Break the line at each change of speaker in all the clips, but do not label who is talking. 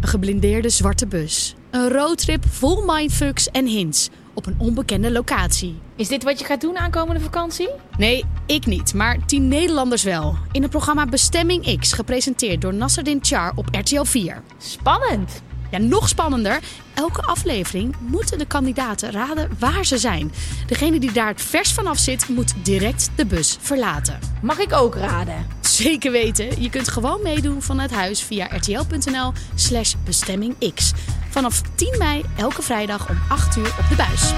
Een geblindeerde zwarte bus. Een roadtrip vol mindfucks en hints op een onbekende locatie.
Is dit wat je gaat doen aankomende vakantie?
Nee, ik niet, maar tien Nederlanders wel. In het programma Bestemming X, gepresenteerd door Nasserdin Char op RTL 4.
Spannend!
Ja, nog spannender. Elke aflevering moeten de kandidaten raden waar ze zijn. Degene die daar het vers vanaf zit, moet direct de bus verlaten.
Mag ik ook raden?
Zeker weten. Je kunt gewoon meedoen vanuit huis via rtl.nl slash bestemmingx. Vanaf 10 mei elke vrijdag om 8 uur op de buis.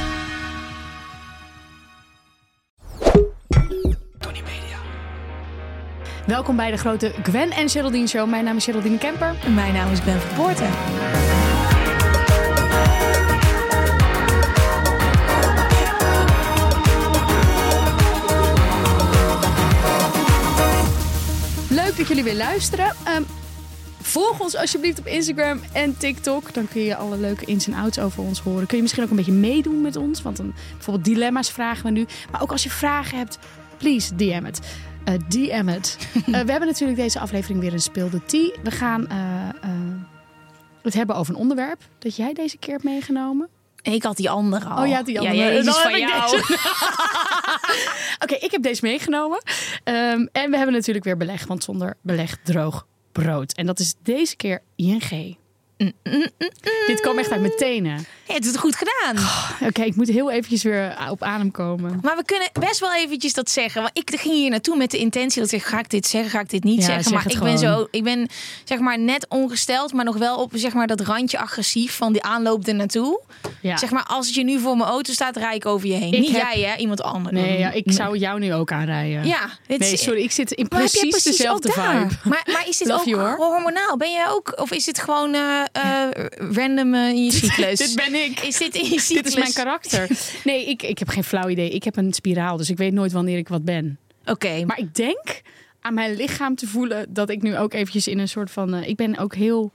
Welkom bij de grote Gwen en Geraldine Show. Mijn naam is Geraldine Kemper.
En mijn naam is Ben van Poorten.
Leuk dat jullie weer luisteren. Ehm, volg ons alsjeblieft op Instagram en TikTok. Dan kun je alle leuke ins en outs over ons horen. Kun je misschien ook een beetje meedoen met ons. Want dan, bijvoorbeeld dilemma's vragen we nu. Maar ook als je vragen hebt, please DM het. Eh, DM het. Eh, we hebben natuurlijk deze aflevering weer een speelde tea. We gaan eh, eh, het hebben over een onderwerp dat jij deze keer hebt meegenomen.
En ik had die andere al.
Oh ja, die andere.
Ja, jezus,
Dan
van
heb ik
jou.
Oké, ik heb deze meegenomen. Ehm, en we hebben natuurlijk weer beleg, want zonder beleg droog brood. En dat is deze keer ING.
Mm,
Dit kwam echt uit mijn tenen.
Je hebt het goed gedaan.
Oké, ik moet heel eventjes weer eh, op adem komen.
Maar we kunnen best wel eventjes dat zeggen. Want ik ging hier naartoe met de intentie dat ik ga ik dit zeggen, ga ik dit niet
Ja,
zeggen.
zeg
maar
het
ik ben
gewoon.
zo, ik ben zeg maar net ongesteld, maar nog wel op zeg maar dat randje agressief van die aanloop ernaartoe.
Ja.
Zeg maar als het je nu voor mijn auto staat, rijd ik over je heen.
Ik
niet
heb-
jij, hè? Iemand anders.
nee, ja, ik zou jou nu ook aanrijden.
Ja, dit
Nee,
is-
sorry, ik zit in
Maar heb
precies,
jij precies
dezelfde
ook daar?
vibe.
Maar, maar is dit
Love
ook
you, hoor.
hormonaal? Ben jij ook, of is dit gewoon eh, eh, random eh, in je cyclus?
Dit ben ik.
Is dit in je cyclus?
Dit is mijn karakter. Nee, ik, ik heb geen flauw idee. Ik heb een spiraal, dus ik weet nooit wanneer ik wat ben.
Oké, maar
Maar ik denk aan mijn lichaam te voelen dat ik nu ook eventjes in een soort van... eh, ik ben ook heel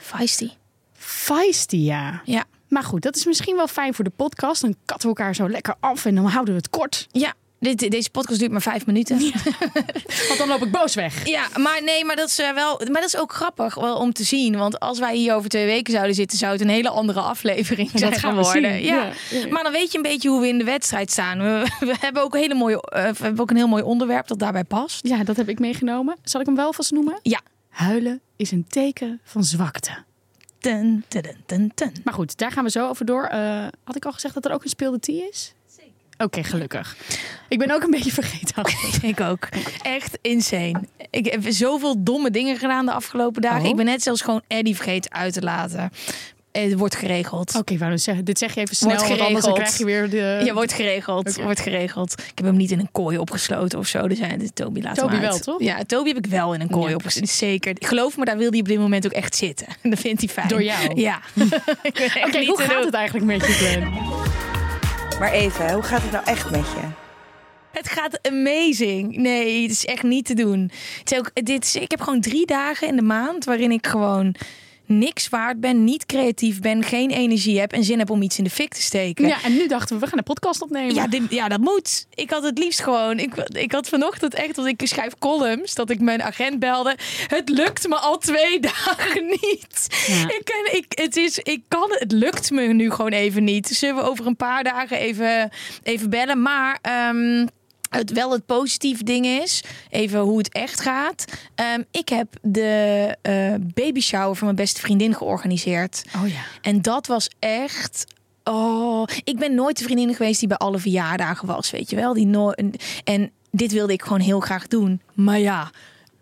feisty.
feisty, ja.
Ja.
Maar goed, dat is misschien wel fijn voor de podcast. Dan katten we elkaar zo lekker af en dan houden we het kort.
Ja, dit, deze podcast duurt maar vijf minuten. Ja,
Want dan loop ik boos weg.
maar nee, maar dat, is, eh, wel, maar dat is ook grappig wel om te zien. Want als wij hier over twee weken zouden zitten, zou het een hele andere aflevering zijn
gaan we
geworden.
zien.
Ja.
Ja, ja.
Maar dan weet je een beetje hoe we in de wedstrijd staan. We, we hebben ook een hele mooie, eh, we hebben ook een heel mooi onderwerp dat daarbij past.
Ja, dat heb ik meegenomen. Zal ik hem wel vast noemen?
Ja.
Huilen is een teken van zwakte.
Dun, dun, dun, dun, dun.
Maar goed, daar gaan we zo over door. Eh, had ik al gezegd dat er ook een speelde tea is? Zeker. Oké, gelukkig. Ik ben ook een beetje vergeten.
Ik ook. Echt insane. Ik heb zoveel domme dingen gedaan de afgelopen dagen.
Oh.
Ik ben net zelfs gewoon Eddie vergeten uit te laten. Het wordt geregeld.
Oké, wou dus zeggen, dit zeg je even snel,
Wordt
want anders dan
geregeld.
krijg je weer de...
Ja, wordt geregeld.
Oké.
Wordt geregeld. Ik heb hem niet in een kooi opgesloten of zo. Dus ja, dit- Toby laat
Toby
hem uit.
wel, toch?
Ja, Toby heb ik wel in een kooi
Ja,
opgesloten. Zeker. Geloof me, daar wil hij op dit moment ook echt zitten. Dat vindt hij fijn.
Door jou?
Ja.
Oké, hoe gaat het eigenlijk met je, Glenn?
Maar even, hoe gaat het nou echt met je?
Het gaat amazing. Nee, het is echt niet te doen. Het is ook, dit is, ik heb gewoon drie dagen in de maand waarin ik gewoon niks waard ben, niet creatief ben, geen energie heb en zin heb om iets in de fik te steken.
Ja, en nu dachten we, we gaan een podcast opnemen.
Ja, dit- ja, dat moet. Ik had het liefst gewoon. Ik, ik had vanochtend echt, want ik schrijf columns, dat ik mijn agent belde. Het lukt me al twee dagen niet. Ik, kan, ik, het is, ik kan, het lukt me nu gewoon even niet. Zullen we over een paar dagen even, even bellen? Maar. ehm, het wel het positieve ding is, even hoe het echt gaat. Ehm, ik heb de eh baby shower van mijn beste vriendin georganiseerd.
Oh ja.
En dat was echt. Oh, ik ben nooit de vriendin geweest die bij alle verjaardagen was, weet je wel. Die no en dit wilde ik gewoon heel graag doen. Maar ja,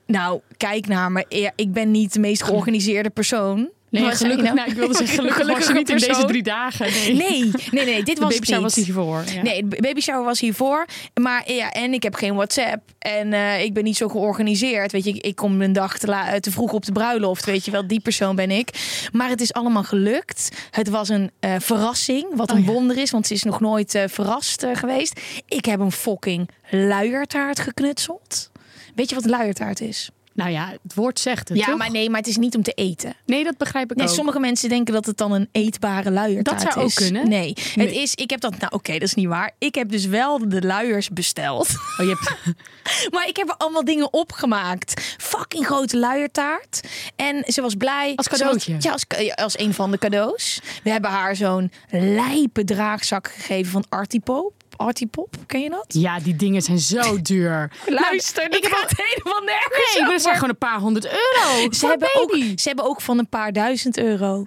nou, kijk naar me. Ja, Ik ben niet de meest georganiseerde persoon.
Nee,
Wat zei je
gelukkig,
nou?
nou, ik wilde zeggen, gelukkig was
Gelukkige
ze niet in deze
persoon.
drie dagen. Nee,
Nee, nee, nee, dit
de
was
baby
het
shower
niet.
was hiervoor. Ja.
Nee, de baby shower was hiervoor. Maar ja, en ik heb geen WhatsApp. En eh, ik ben niet zo georganiseerd. Weet je, ik, ik kom een dag te, la- eh, te vroeg op de bruiloft. Weet je wel, die persoon ben ik. Maar het is allemaal gelukt. Het was een eh, verrassing. Wat een wonder is, want ze is nog nooit eh, verrast eh, geweest. Ik heb een fucking luiertaart geknutseld. Weet je wat een luiertaart is?
Nou ja, het woord zegt het,
Ja,
toch?
maar nee, maar het is niet om te eten.
Nee, dat begrijp ik
Nee,
ook.
sommige mensen denken dat het dan een eetbare luiertaart is.
Dat zou ook kunnen.
Nee, het is. Ik heb dat. Nou, oké, dat is niet waar. Ik heb dus wel de luiers besteld,
Oh, je hebt...
maar ik heb er allemaal dingen opgemaakt. Fucking grote luiertaart. En ze was blij.
Als
Ze was-
cadeautje?
ja, als, eh, ja, als een van de cadeaus. We hebben haar zo'n lijpe draagzak gegeven van Artipop. Artipop, ken je dat?
Ja, die dingen zijn zo duur. Nou,
Luister, ik heb het helemaal nergens.
Nee, maar dat
over.
zijn gewoon een paar honderd euro.
Ze
voor een
hebben, ook,
baby.
ze hebben ook van een paar duizend euro.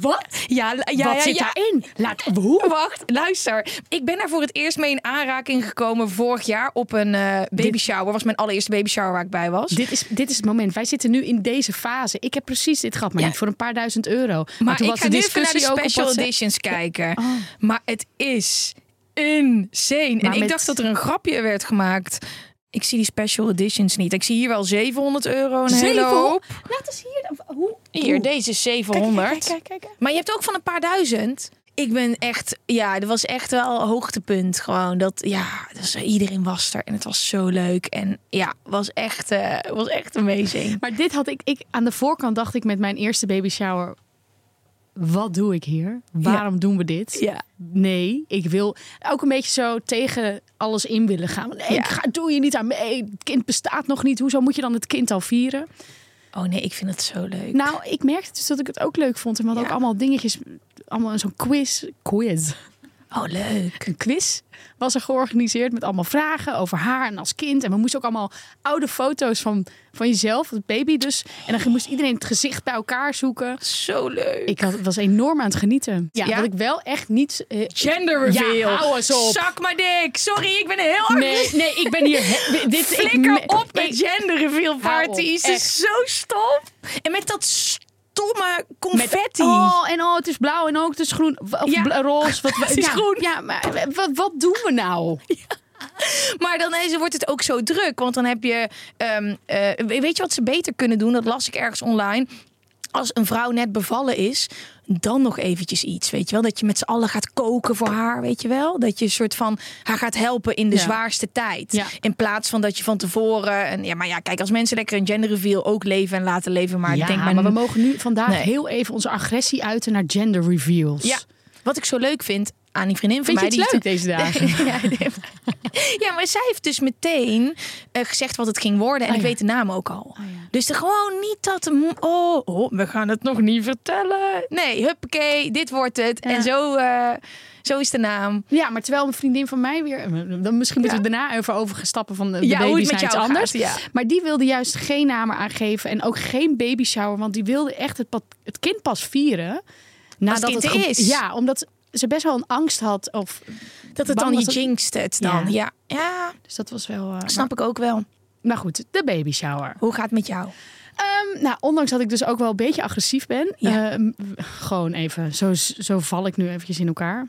Wat?
Ja, ja, ja,
Wat
ja,
zit
ja.
daarin? Laat, hoe?
Wacht, luister. Ik ben daar voor het eerst mee in aanraking gekomen vorig jaar op een eh baby shower. Was mijn allereerste baby shower waar ik bij was.
Dit is, dit is het moment. Wij zitten nu in deze fase. Ik heb precies dit gehad, maar
Ja.
niet voor een paar duizend euro. Maar,
maar
toen
ik
was
ga
de
nu even naar
discussie
de
ook op
special
WhatsApp. Oh.
editions kijken. Maar het is insane. en
Maar
ik
met-
dacht dat er een grapje werd gemaakt. Ik zie die special editions niet. Ik zie hier wel 700 euro. Een hele
Zevenhonderd?
hoop.
Laat eens hier. dan- Hoe?
Hier, deze is 700.
Kijk, kijk, kijk.
Maar je hebt ook van een paar duizend. Ik ben echt, ja, dat was echt wel een hoogtepunt. Gewoon dat, ja, dus iedereen was er en het was zo leuk. En ja, was echt, eh, was echt amazing.
Maar dit had ik, ik. Aan de voorkant dacht ik met mijn eerste baby shower. Wat doe ik hier? Waarom doen we dit?
Ja.
Nee, ik wil ook een beetje zo tegen alles in willen gaan. Want Nee,
Ja.
ik ga, doe je niet aan mee. Het kind bestaat nog niet. Hoezo moet je dan het kind al vieren?
Oh nee, ik vind het zo leuk.
Nou, ik merkte dus dat ik het ook leuk vond. En we hadden
Ja.
ook allemaal dingetjes. Allemaal zo'n quiz. Quiz.
Oh leuk.
Een quiz was er georganiseerd met allemaal vragen over haar en als kind. En we moesten ook allemaal oude foto's van, van jezelf, het baby dus. En dan moest iedereen het gezicht bij elkaar zoeken.
Zo leuk.
Ik had, was enorm aan het genieten. Ja,
Ja?
Wat ik wel echt niet... eh,
Gender reveal.
Ja, hou eens op.
Zak maar dik. Sorry, ik ben heel erg.
nee, nee, ik ben hier... he- dit, ik
Flikker
me-
op
ik-
met gender reveal
Hou op,
parties. Het
echt.
is zo stom. En met dat stomme confetti.
Oh, en oh, het is blauw en ook het is groen. Of
Ja.
bla- roze. Wat,
Het is
ja,
groen.
Ja, maar wat, wat doen we nou?
Maar dan is, wordt het ook zo druk. Want dan heb je. ehm, eh, we- weet je wat ze beter kunnen doen? Dat las ik ergens online. Als een vrouw net bevallen is, dan nog eventjes iets. Weet je wel? Dat je met z'n allen gaat koken voor haar. Weet je wel? Dat je een soort van haar gaat helpen in de
Ja.
zwaarste tijd.
Ja.
In plaats van dat je van tevoren. En, ja, maar ja, kijk, als mensen lekker een gender reveal ook leven en laten leven. Maar
ja,
ik denk
maar, we mogen nu vandaag
Nee.
heel even onze agressie uiten naar gender reveals.
Ja, wat ik zo leuk vind aan die vriendin van
Vind je
mij.
het
die
leuk deze dagen?
ja, nee. Ja, maar zij heeft dus meteen eh, gezegd wat het ging worden. En
Oh,
ik
ja.
weet de naam ook al. Dus er gewoon niet dat... een- Oh, oh, we gaan het nog niet vertellen. Nee, huppakee, dit wordt het. En zo, eh, zo is de naam.
Ja, maar terwijl een vriendin van mij weer... Dan misschien moeten we daarna even overgestappen van de, de
Ja, hoe
baby's
het met
naar iets
jou
anders.
gaat, ja.
Maar die wilde juist geen namen aangeven en ook geen baby shower. Want die wilde echt het, pa- het kind pas vieren. Nadat
kind
ge-
er is.
Ja, omdat ze best wel een angst had. Of,
Dat het
Bang
dan, je
dat het-
jinxt het dan. Ja, ja.
dus dat was wel... eh, maar,
snap ik ook wel.
maar goed, de baby shower.
Hoe gaat het met jou?
Ehm, nou, ondanks dat ik dus ook wel een beetje agressief ben.
Ja.
ehm, gewoon even, zo, zo val ik nu eventjes in elkaar.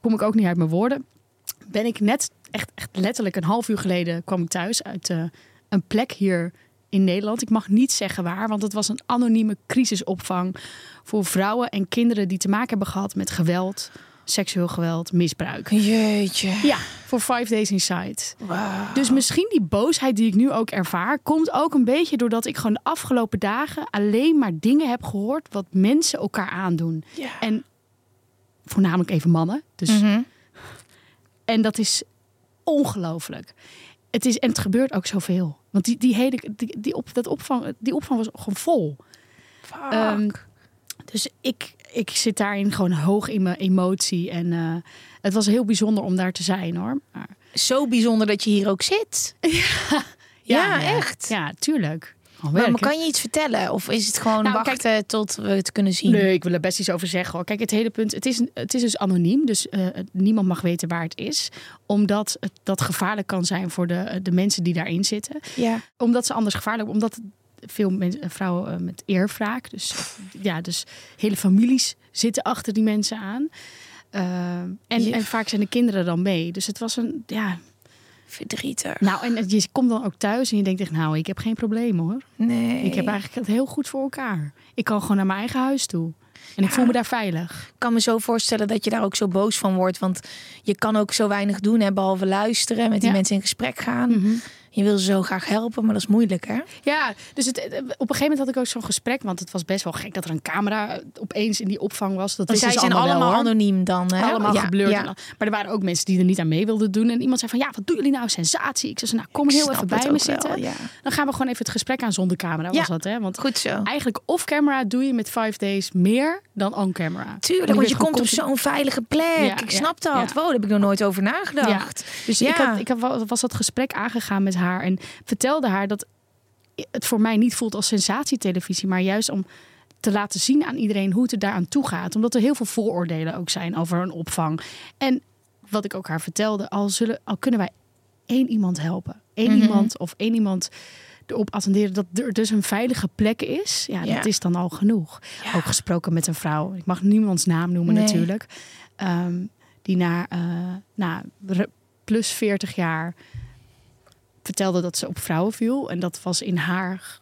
Kom ik ook niet uit mijn woorden. Ben ik net, echt, echt letterlijk een half uur geleden kwam ik thuis uit eh, een plek hier in Nederland. Ik mag niet zeggen waar, want het was een anonieme crisisopvang voor vrouwen en kinderen die te maken hebben gehad met geweld, seksueel geweld, misbruik.
Jeetje.
Ja, voor Five Days Inside. Dus misschien die boosheid die ik nu ook ervaar, komt ook een beetje doordat ik gewoon de afgelopen dagen alleen maar dingen heb gehoord wat mensen elkaar aandoen. En voornamelijk even mannen. Dus. En dat is ongelooflijk. Het is, en het gebeurt ook zoveel. Want die, die hele, die, die op, dat opvang, die opvang was gewoon vol. Ehm, dus ik, ik zit daarin gewoon hoog in mijn emotie. En eh, het was heel bijzonder om daar te zijn hoor. Maar,
Zo bijzonder dat je hier ook zit. Ja, echt.
Ja, tuurlijk. Gewoon
Maar,
werken.
kan je iets vertellen? Of is het gewoon
Nou,
wachten tot we het kunnen zien?
Nee, ik wil er best iets over zeggen hoor. Kijk, het hele punt, het is, het is dus anoniem, dus eh, niemand mag weten waar het is. Omdat het, dat gevaarlijk kan zijn voor de, de mensen die daarin zitten.
Ja.
Omdat ze anders gevaarlijk, omdat veel mensen, vrouwen eh, met eerwraak. Dus ja, dus hele families zitten achter die mensen aan. Ehm, en, en vaak zijn de kinderen dan mee. Dus het was een, ja.
Verdrietig.
Nou, en het- je komt dan ook thuis en je denkt echt, nou, ik heb geen probleem hoor.
Nee.
Ik heb eigenlijk het heel goed voor elkaar. Ik kan gewoon naar mijn eigen huis toe. En ik voel me daar veilig.
Ik kan me zo voorstellen dat je daar ook zo boos van wordt. Want je kan ook zo weinig doen, hè, behalve luisteren, met die
Ja.
mensen in gesprek gaan. Je wil ze zo graag helpen, maar dat is moeilijk, hè?
Ja, dus het, op een gegeven moment had ik ook zo'n gesprek. Want het was best wel gek dat er een camera eh, opeens in die opvang was. Dat
Want
is
zij zijn allemaal anoniem dan, hè?
Allemaal
ja,
geblurred.
ja.
en al. Maar er waren ook mensen die er niet aan mee wilden doen. En iemand zei van, ja, wat doen jullie nou? Sensatie. Ik zei, nou, kom
Ik
heel
snap
even
het
bij me
ook wel,
zitten.
ja.
Dan gaan we gewoon even het gesprek aan zonder camera,
Ja,
was dat, hè? Want
Goed zo.
eigenlijk off-camera doe je met five days meer dan on-camera.
Tuurlijk, want je komt op
zo.
zo'n veilige plek.
Ja,
ik
ja,
snap
ja.
dat. Wow, daar heb ik nog nooit over nagedacht.
Dus
Ja.
ik, had, ik had, wel- was dat gesprek aangegaan met haar en vertelde haar dat het voor mij niet voelt als sensatietelevisie, maar juist om te laten zien aan iedereen hoe het er daaraan toe gaat. Omdat er heel veel vooroordelen ook zijn over een opvang. En wat ik ook haar vertelde, al, zullen, al kunnen wij één iemand helpen. Eén
Mhm.
iemand of één iemand erop attenderen dat er dus een veilige plek is. Ja,
Ja.
dat is dan al genoeg. Ook gesproken met een vrouw. Ik mag niemands naam noemen
Nee.
natuurlijk. Ehm, die na, eh, na re- plus 40 jaar vertelde dat ze op vrouwen viel. En dat was in haar,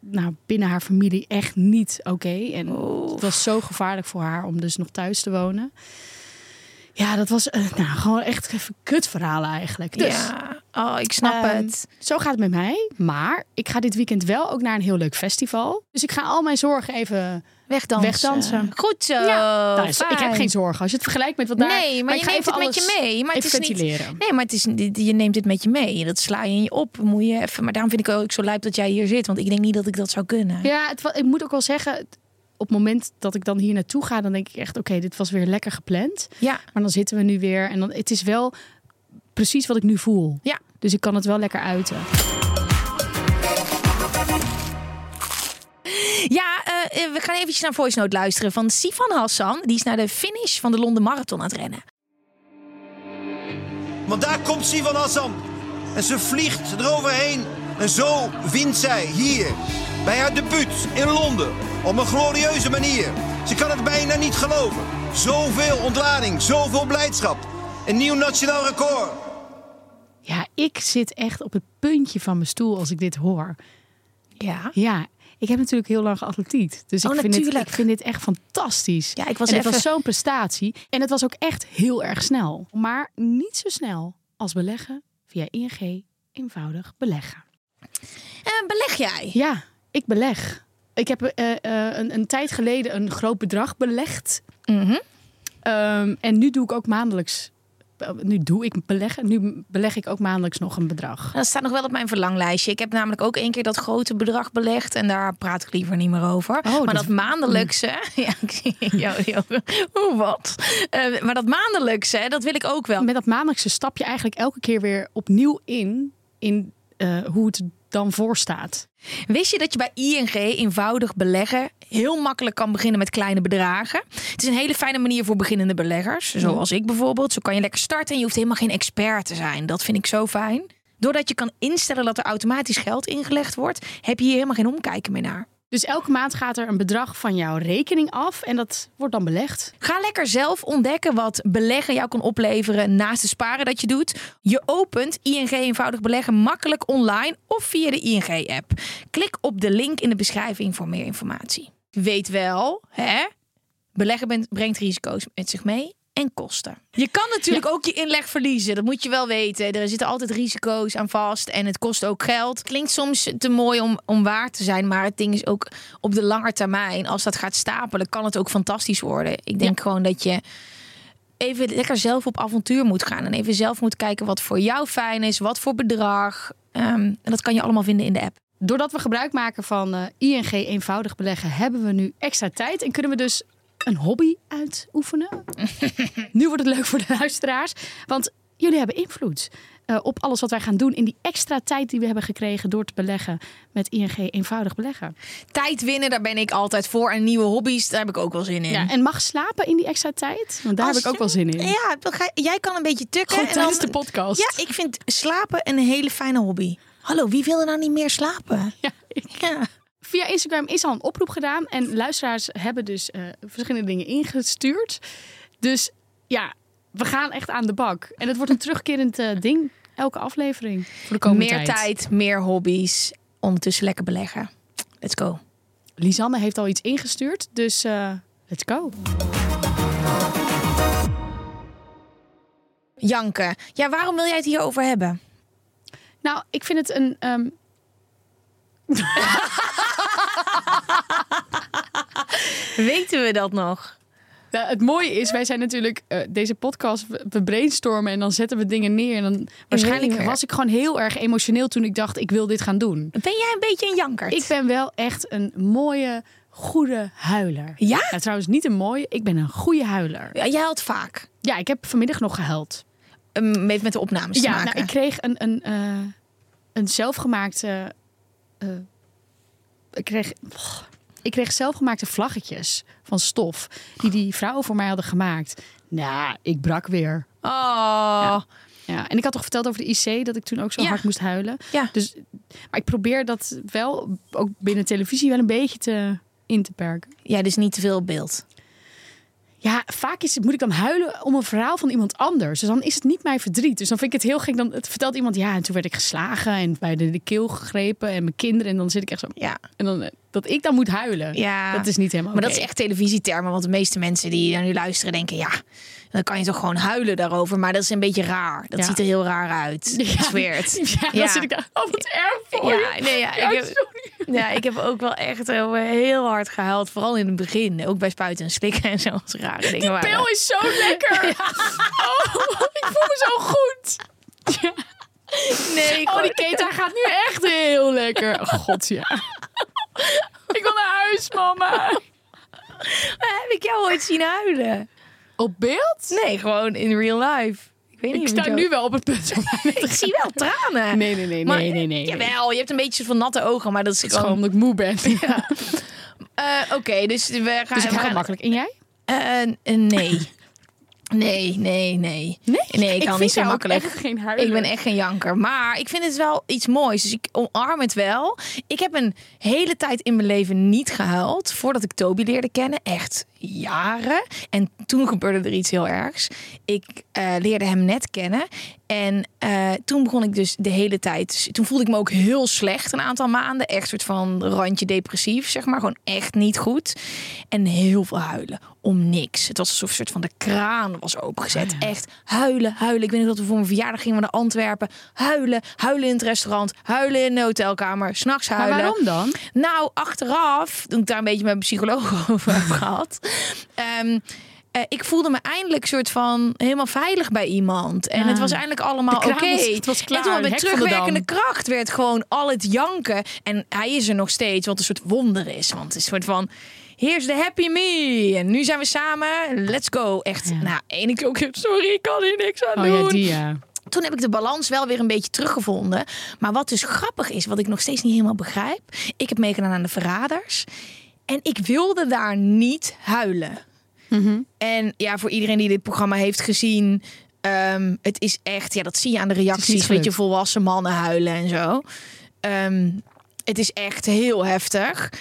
nou, binnen haar familie echt niet oké. En het was zo gevaarlijk voor haar om dus nog thuis te wonen. Ja, dat was eh, nou, gewoon echt even kut verhalen eigenlijk. Dus,
ja. Oh, ik snap
Ehm,
het.
Zo gaat het met mij. Maar ik ga dit weekend wel ook naar een heel leuk festival. Dus ik ga al mijn zorgen even...
Wegdansen.
wegdansen.
Goed zo.
Nou, is- ik heb
fijn.
geen zorgen. Als je het vergelijkt met wat daar...
Nee, maar,
ik
je
ga
neemt het
even
met je
alles
mee. Maar het
even
is niet,
ventileren.
Nee, maar het is, je neemt het met je mee. Dat sla je in je op. Moet je even, maar daarom vind ik ook zo lijp dat jij hier zit. Want ik denk niet dat ik dat zou kunnen.
Ja, het, wa- ik moet ook wel zeggen, het- op het moment dat ik dan hier naartoe ga, dan denk ik echt, oké, dit was weer lekker gepland.
Ja.
Maar dan zitten we nu weer en dan, het is wel precies wat ik nu voel.
Ja.
Dus ik kan het wel lekker uiten.
Ja, eh, eh, we gaan eventjes naar voice note luisteren van Sifan Hassan. Die is naar de finish van de Londen Marathon aan het rennen.
Want daar komt Sivan Hassan. En ze vliegt eroverheen. En zo wint zij hier, bij haar debuut in Londen, op een glorieuze manier. Ze kan het bijna niet geloven. Zoveel ontlading, zoveel blijdschap. Een nieuw nationaal record.
Ja, ik zit echt op het puntje van mijn stoel als ik dit hoor.
Ja.
Ja, ik heb natuurlijk heel lang geatletiet. Dus
Oh,
ik, vind dit,
natuurlijk.
ik vind dit echt fantastisch.
Ja, ik was
en
even-
het was zo'n prestatie. En het was ook echt heel erg snel. Maar niet zo snel als beleggen via ING eenvoudig beleggen.
En Eh, beleg jij?
Ja, ik beleg. Ik heb eh, eh, een, een tijd geleden een groot bedrag belegd.
Mhm.
Ehm, en nu doe ik ook maandelijks. eh, Nu doe ik beleggen. Nu beleg ik ook maandelijks nog een bedrag.
Dat staat nog wel op mijn verlanglijstje. Ik heb namelijk ook één keer dat grote bedrag belegd. En daar praat ik liever niet meer over.
Oh,
maar dat,
dat-
maandelijkse. Ja, ik zie jou. jou- Hoe wat? Eh, maar dat maandelijkse, dat wil ik ook wel.
Met dat maandelijkse stap je eigenlijk elke keer weer opnieuw in. In eh, hoe het dan voor staat.
Wist je dat je bij ING eenvoudig beleggen heel makkelijk kan beginnen met kleine bedragen? Het is een hele fijne manier voor beginnende beleggers, zoals ik bijvoorbeeld. Zo kan je lekker starten en je hoeft helemaal geen expert te zijn. Dat vind ik zo fijn. Doordat je kan instellen dat er automatisch geld ingelegd wordt, heb je hier helemaal geen omkijken meer naar.
Dus elke maand gaat er een bedrag van jouw rekening af. En dat wordt dan belegd.
Ga lekker zelf ontdekken wat beleggen jou kan opleveren naast het sparen dat je doet. Je opent ING eenvoudig beleggen makkelijk online of via de ING-app. Klik op de link in de beschrijving voor meer informatie. Weet wel, hè? Beleggen bent- brengt risico's met zich mee en kosten. Je kan natuurlijk ook je inleg verliezen, dat moet je wel weten. Er zitten altijd risico's aan vast en het kost ook geld. Klinkt soms te mooi om, om waar te zijn, maar het ding is ook op de lange termijn, als dat gaat stapelen, kan het ook fantastisch worden. Ik denk gewoon dat je even lekker zelf op avontuur moet gaan en even zelf moet kijken wat voor jou fijn is, wat voor bedrag. Ehm, en dat kan je allemaal vinden in de app.
Doordat we gebruik maken van eh, ING eenvoudig beleggen, hebben we nu extra tijd en kunnen we dus een hobby uitoefenen. nu wordt het leuk voor de luisteraars, want jullie hebben invloed eh, op alles wat wij gaan doen in die extra tijd die we hebben gekregen door te beleggen met ING eenvoudig beleggen.
Tijd winnen, daar ben ik altijd voor. En nieuwe hobby's, daar heb ik ook wel zin in.
Ja, en mag slapen in die extra tijd? Want daar
Als
heb ik ook
je-
wel zin in.
Ja, dan ga- jij kan een beetje tukken.
Goed
en
tijdens
dan-
de podcast.
Ja, ik vind slapen een hele fijne hobby. Hallo, wie wil er nou niet meer slapen?
Ja,
Ja.
Via Instagram is al een oproep gedaan. En luisteraars hebben dus eh, verschillende dingen ingestuurd. Dus ja, we gaan echt aan de bak. En het wordt een terugkerend eh, ding. Elke aflevering. Voor de komende
Meer tijd, meer hobby's. Ondertussen lekker beleggen. Let's go.
Lisanne heeft al iets ingestuurd. Dus eh, let's go.
Janken. Ja, waarom wil jij het hierover hebben?
Nou, ik vind het een. ehm,
Weten we dat nog?
nou, het mooie is, wij zijn natuurlijk eh, deze podcast, we we brainstormen en dan zetten we dingen neer. En dan waarschijnlijk
Zeker.
was ik gewoon heel erg emotioneel toen ik dacht, ik wil dit gaan doen.
Ben jij een beetje een jankert?
Ik ben wel echt een mooie, goede huiler.
Ja?
Nou, trouwens, niet een mooie, ik ben een goede huiler.
Ja, Jij had vaak.
Ja, ik heb vanmiddag nog gehuild.
Um, Heeft met de opnames te
Ja,
maken.
nou, ik kreeg een, een, eh, een zelfgemaakte. eh, ik, kreeg, och, ik kreeg zelfgemaakte vlaggetjes van stof. Die die vrouwen voor mij hadden gemaakt. Nou, ik brak weer.
Oh.
Ja, en ik had toch verteld over de IC dat ik toen ook zo
Ja.
hard moest huilen.
Ja.
Dus, maar ik probeer dat wel, ook binnen televisie, wel een beetje te, in te perken.
Ja, dus niet te veel beeld.
Ja, vaak is, het- moet ik dan huilen om een verhaal van iemand anders. Dus dan is het niet mijn verdriet. Dus dan vind ik het heel gek. Dan het vertelt iemand, ja, en toen werd ik geslagen en bij de, de keel gegrepen en mijn kinderen. En dan zit ik echt zo.
Ja.
En dan, eh, dat ik dan moet huilen.
Ja.
Dat is niet helemaal.
Maar dat is echt televisietermen, want de meeste mensen die daar nu luisteren denken, ja, dan kan je toch gewoon huilen daarover. Maar dat is een beetje raar. Dat
Ja.
ziet er heel raar uit. Ja.
Ja.
Dat is weird.
Ja, dan zit ik daar. Oh, wat erg voor je.
Ja, nee, ja,
Ja,
ik heb, ja, ik heb ook wel echt eh, heel hard gehuild. Vooral in het begin. Ook bij spuiten en slikken en zo. als er rare dingen waren.
Pil is zo lekker. Oh, ik voel me zo goed.
Nee, ik
Oh,
kon-
die keta gaat nu echt heel lekker. Oh, God ja. Ik wil naar huis, mama.
heb ik jou ooit zien huilen?
Op beeld?
Nee, gewoon in real life. Ik weet niet.
Ik
of
sta
jou-
nu wel op het punt. om mij te
Ik zie wel tranen.
Nee, nee, nee,
Maar-
nee, nee, nee.
Jawel, je hebt een beetje van natte ogen, maar dat is
Het is
gewoon...
gewoon omdat ik moe ben.
Eh, Oké, dus we gaan...
Dus ik
we
ga
gaan-
makkelijk. En jij?
Eh, eh, nee. Nee, nee, nee.
Nee?
Nee, ik, hou niet zo makkelijk.
Ik geen huilen.
Ik ben echt geen janker. Maar ik vind het wel iets moois. Dus ik omarm het wel. Ik heb een hele tijd in mijn leven niet gehuild. Voordat ik Toby leerde kennen. Echt jaren. En toen gebeurde er iets heel ergs. Ik eh, leerde hem net kennen. En eh, toen begon ik dus de hele tijd. Toen voelde ik me ook heel slecht een aantal maanden. Echt soort van randje depressief, zeg maar. Gewoon echt niet goed. En heel veel huilen. Om niks. Het was alsof een soort van de kraan was opengezet.
Ah.
Echt huilen, huilen. Ik weet nog dat we voor mijn verjaardag gingen we naar Antwerpen. Huilen, huilen in het restaurant. Huilen in de hotelkamer. S'nachts
Maar
huilen.
waarom dan?
Nou, achteraf, toen ik daar een beetje met mijn psycholoog over heb gehad. ehm, eh, ik voelde me eindelijk soort van helemaal veilig bij iemand. En
Ja.
het was eindelijk allemaal
Ah. De
oké.
kraan was- het was klaar,
En toen
het
met
hek van de
terugwerkende
dam.
kracht werd gewoon al het janken. En hij is er nog steeds, wat een soort wonder is. Want het is een soort van, here's the happy me. En nu zijn we samen, let's go. Echt, nou, ene keer ook, sorry, ik kan hier niks
Oh
aan doen
ja, die ja.
toen heb ik de balans wel weer een beetje teruggevonden. Maar wat dus grappig is, wat ik nog steeds niet helemaal begrijp. Ik heb meegedaan aan de Verraders. En ik wilde daar niet huilen. En ja, voor iedereen die dit programma heeft gezien. ehm, het is echt, ja, dat zie je aan de reacties. Weet je,
gelukt.
volwassen mannen huilen en zo. Ehm, het is echt heel heftig.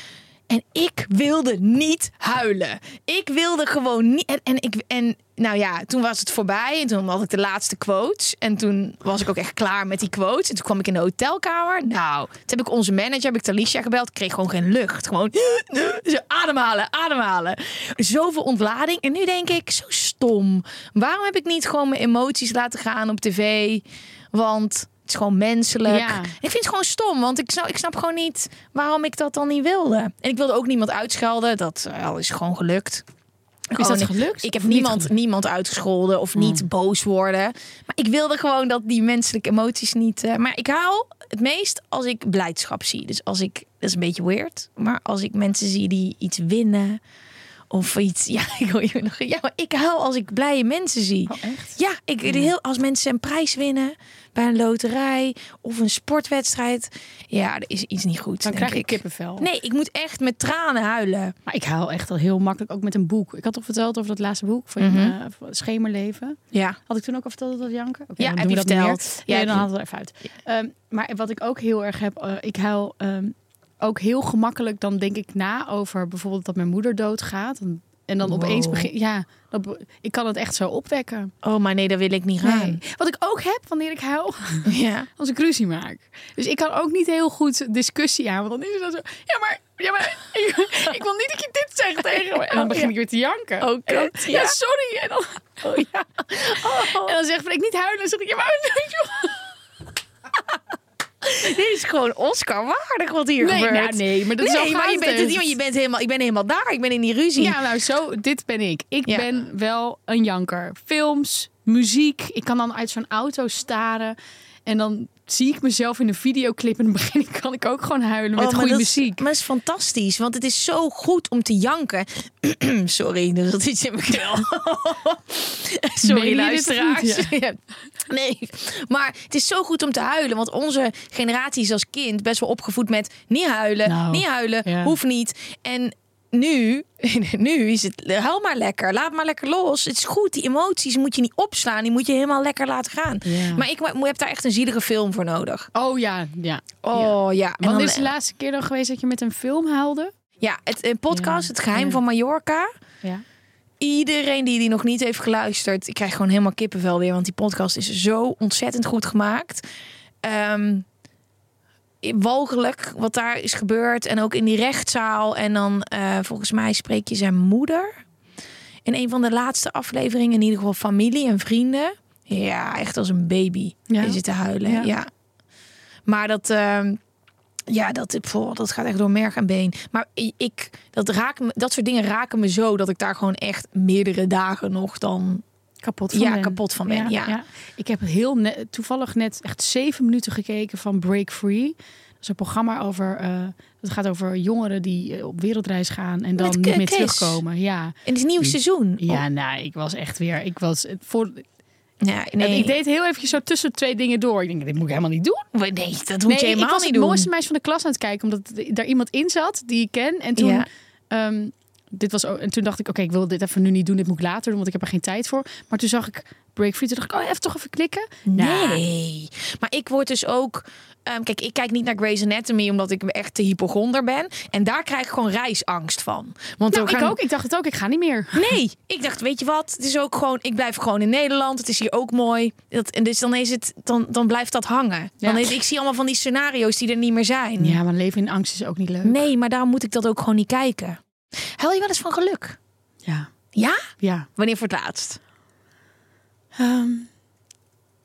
En ik wilde niet huilen. Ik wilde gewoon niet. En, en ik. En nou ja, toen was het voorbij. En toen had ik de laatste quotes. En toen was ik ook echt klaar met die quotes. En toen kwam ik in de hotelkamer. Nou, toen heb ik onze manager, heb ik Talisha gebeld. Ik kreeg gewoon geen lucht. Gewoon zo ademhalen, ademhalen. Zoveel ontlading. En nu denk ik, zo stom. Waarom heb ik niet gewoon mijn emoties laten gaan op tv? Want het is gewoon menselijk.
Ja.
Ik vind het gewoon stom, want ik snap, ik snap gewoon niet waarom ik dat dan niet wilde. En ik wilde ook niemand uitschelden. Dat eh, al is gewoon gelukt. Gewoon,
dat
ik-
gelukt?
Oh, Ik heb
Of niet
niemand,
gelukt?
niemand uitgescholden of niet boos worden. Maar ik wilde gewoon dat die menselijke emoties niet... eh, maar ik haal het meest als ik blijdschap zie. Dus als ik... Dat is een beetje weird. Maar als ik mensen zie die iets winnen... Of iets. Ja, ik hoor je nog. Ja, maar ik huil als ik blije mensen zie. Oh, Ja, ik, de heel, als mensen een prijs winnen bij een loterij of een sportwedstrijd. Ja, er is iets niet goed.
Dan
denk
krijg ik kippenvel.
Nee, ik moet echt met tranen huilen.
Maar ik haal echt al heel makkelijk, ook met een boek. Ik had toch verteld over dat laatste boek van eh, van Schemerleven.
Ja.
Had ik toen ook al verteld dat dat janken? Oké,
Ja,
dan
heb
doen
je
we dat niet meer.
verteld.
Ja,
Ja,
dan
heb
haal het er even uit. Ehm, maar wat ik ook heel erg heb, eh, ik huil ehm, ook heel gemakkelijk dan denk ik na over bijvoorbeeld dat mijn moeder doodgaat. En, en dan opeens
Wow.
begin ja, dat, be- ik kan het echt zo opwekken.
Oh, maar nee, daar wil ik niet gaan.
Nee. Wat ik ook heb wanneer ik huil,
Ja.
als ik ruzie maak. Dus ik kan ook niet heel goed discussie aan. Want dan is het dan zo, ja maar, ja, maar ik, ik wil niet dat je dit zegt tegen me. En dan begin ik weer te janken.
Oh,
En dan,
kut,
ja.
ja. Oh,
sorry. En dan, en dan zegt ik niet huilen. Dan zeg ik, ja maar...
Dit is gewoon Oscar waardig wat hier
Nee,
gebeurt.
nou, nee, maar dat is al
nee, maar je bent, het,
gehaald.
niet, want je bent helemaal, ik ben helemaal daar. Ik ben in die ruzie. Oh,
Ja, nou zo, dit ben ik. Ik
Ja.
ben wel een janker. Films, muziek. Ik kan dan uit zo'n auto staren. En dan zie ik mezelf in een videoclip. En dan begin ik, kan ik ook gewoon huilen met
Oh, maar
goede
dat is-
muziek.
Maar dat is fantastisch, want het is zo goed om te janken. Sorry, er zat iets in mijn knel.
Meen je
Sorry,
dit
luisteraars.
goed? Ja.
Ja. Nee, maar het is zo goed om te huilen. Want onze generatie is als kind best wel opgevoed met niet huilen,
Nou,
niet huilen,
ja.
hoeft niet. En nu, nu is het, huil maar lekker, laat maar lekker los. Het is goed, die emoties moet je niet opslaan, die moet je helemaal lekker laten gaan.
Ja.
Maar ik mo- heb daar echt een zielige film voor nodig.
Oh ja, ja.
Oh ja. En
Wanneer
dan-
is de laatste keer dan geweest dat je met een film huilde?
Ja, het een podcast,
Ja,
Het Geheim
ja.
van Mallorca.
Ja.
Iedereen die die nog niet heeft geluisterd, ik krijg gewoon helemaal kippenvel weer, want die podcast is zo ontzettend goed gemaakt. Ehm, walgelijk wat daar is gebeurd en ook in die rechtszaal. En dan eh, volgens mij spreek je zijn moeder in een van de laatste afleveringen, in ieder geval familie en vrienden. Ja, echt als een baby
Ja.
is het te huilen.
Ja.
Ja. Maar dat, ehm, ja, dat, pff, dat gaat echt door merg en been. Maar ik, dat, raakt me, dat soort dingen raken me zo dat ik daar gewoon echt meerdere dagen nog dan
Kapot
ja, kapot van ben. Ja,
Ik heb heel ne- toevallig net echt zeven minuten gekeken van Break Free. Dat is een programma over. eh het gaat over jongeren die eh, op wereldreis gaan en dan
Met
niet meer
Kees.
terugkomen. Ja,
En het is nieuw seizoen.
ja nou, ik was echt weer. Ik was het voor.
Oh, ja, nee.
Ik deed heel even zo tussen twee dingen door. Ik denk, dit moet ik helemaal niet doen.
nee, dat moet je
ik
helemaal
was
niet
het
doen.
mooiste meisje van de klas aan het kijken, omdat d- daar iemand in zat die ik ken. En toen,
Ja.
ehm, dit was ook, en toen dacht ik, oké, ik wil dit even nu niet doen, dit moet ik later doen, want ik heb er geen tijd voor. Maar toen zag ik Break Free, toen dacht ik, oh, even toch even klikken.
Nee. Maar ik word dus ook. ehm, kijk, ik kijk niet naar Grey's Anatomy omdat ik echt te hypochonder ben. En daar krijg ik gewoon reisangst van. Want
Nou,
we gaan-
ik ook. Ik dacht het ook, ik ga niet meer.
Nee, ik dacht, weet je wat? Het is ook gewoon, ik blijf gewoon in Nederland. Het is hier ook mooi. Dat, en dus dan, is het, dan, dan blijft dat hangen.
Ja.
Dan is, ik zie allemaal van die scenario's die er niet meer zijn.
Ja, maar leven in angst is ook niet leuk.
Nee, maar daarom moet ik dat ook gewoon niet kijken. Huil je wel eens van geluk?
Ja.
Ja?
ja.
Wanneer voor het laatst?
Ehm,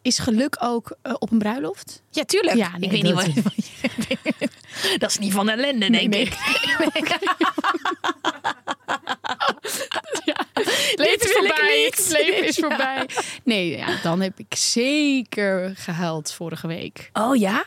is geluk ook eh, op een bruiloft?
Ja, tuurlijk.
Ja, nee,
ik weet niet
dat-
wat. dat is niet van ellende, denk
nee.
ik.
Leven is
wil ik
voorbij.
niet.
Het leven is voorbij. Nee, ja, dan heb ik zeker gehuild vorige week.
Oh ja?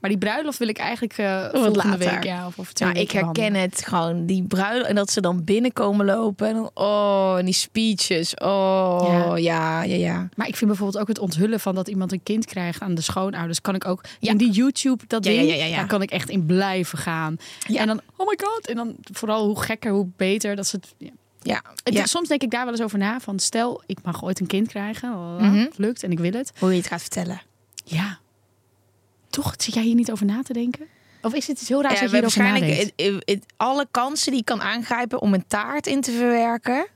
Maar die bruiloft wil ik eigenlijk eh volgende
Oh, later.
week. Ja, of, of twee
Nou, ik
weken
herken
behandelen.
het gewoon. Die bruiloft en dat ze dan binnenkomen lopen. En dan, oh, en die speeches. Oh, ja, ja, ja.
Maar ik vind bijvoorbeeld ook het onthullen van dat iemand een kind krijgt aan de schoonouders. Kan ik ook
Ja.
in die YouTube, dat
Ja, ja,
ding,
ja, ja, ja.
daar kan ik echt in blijven gaan.
Ja.
En dan, oh my god. En dan vooral hoe gekker, hoe beter. Dat ze het, ja.
Ja,
Het-
ja.
Soms denk ik daar wel eens over na. Van stel, ik mag ooit een kind krijgen. lalala,
Mhm.
Het lukt en ik wil het.
Hoe je het gaat vertellen.
Ja. Toch, zit jij hier niet over na te denken? Of is het iets heel raar
Ja,
dat
we
je hierover
waarschijnlijk
nadenkt?
het- het- het- alle kansen die ik kan aangrijpen om een taart in te verwerken.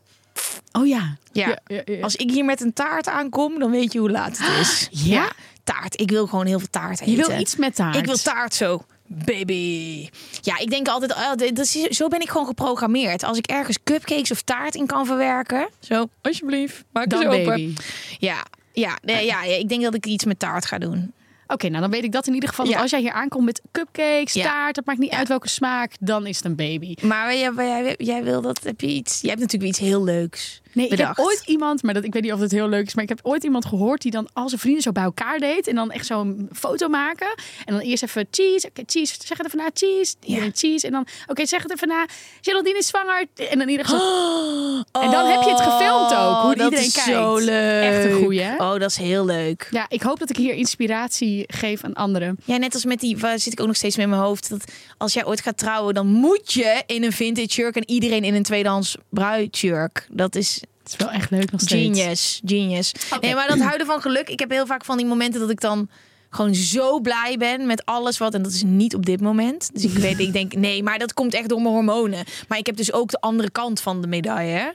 Oh ja.
eh, Ja.
ja, ja.
Als ik hier met een taart aankom, dan weet je hoe laat het is.
Ja?
taart. Ik wil gewoon heel veel taart eten.
je wil iets met taart.
Ik wil taart zo. Baby. Ja, ik denk altijd, oh, dit- dat is, zo ben ik gewoon geprogrammeerd. Als ik ergens cupcakes of taart in kan verwerken. Zo, alsjeblieft, maak
Dan
eens open.
baby.
Ja, ja, nee, ja, ja, ik denk dat ik iets met taart ga doen.
nou dan weet ik dat in ieder geval.
Ja.
Want als jij hier aankomt met cupcakes,
Ja.
taart, dat maakt niet uit welke smaak, dan is het een baby.
Maar jij, jij, jij wil dat, heb je iets, jij hebt natuurlijk iets heel leuks
Nee,
bedacht.
ik heb ooit iemand, maar dat, ik weet niet of het heel leuk is, maar ik heb ooit iemand gehoord die dan al zijn vrienden zo bij elkaar deed en dan echt zo'n foto maken. En dan eerst even cheese, oké, cheese, zeg het even na, cheese, iedereen cheese. En dan, oké, zeg het even na, Geraldine is zwanger. En dan iedereen zo, en dan heb je het gefilmd ook, hoe
Oh, dat
iedereen
is
kijkt.
zo leuk.
Echt een goeie, hè?
Oh, dat is heel leuk.
Ja, ik hoop dat ik hier inspiratie geef aan anderen.
Ja, net als met die, waar zit ik ook nog steeds mee in mijn hoofd. Dat als jij ooit gaat trouwen, dan moet je in een vintage jurk en iedereen in een tweedehands bruidjurk. Dat is
Het is wel echt leuk nog steeds.
genius, genius. Nee, maar dat houden van geluk. Ik heb heel vaak van die momenten dat ik dan gewoon zo blij ben met alles wat en dat is niet op dit moment. Dus ik weet, ik denk nee, maar dat komt echt door mijn hormonen. Maar ik heb dus ook de andere kant van de medaille, hè.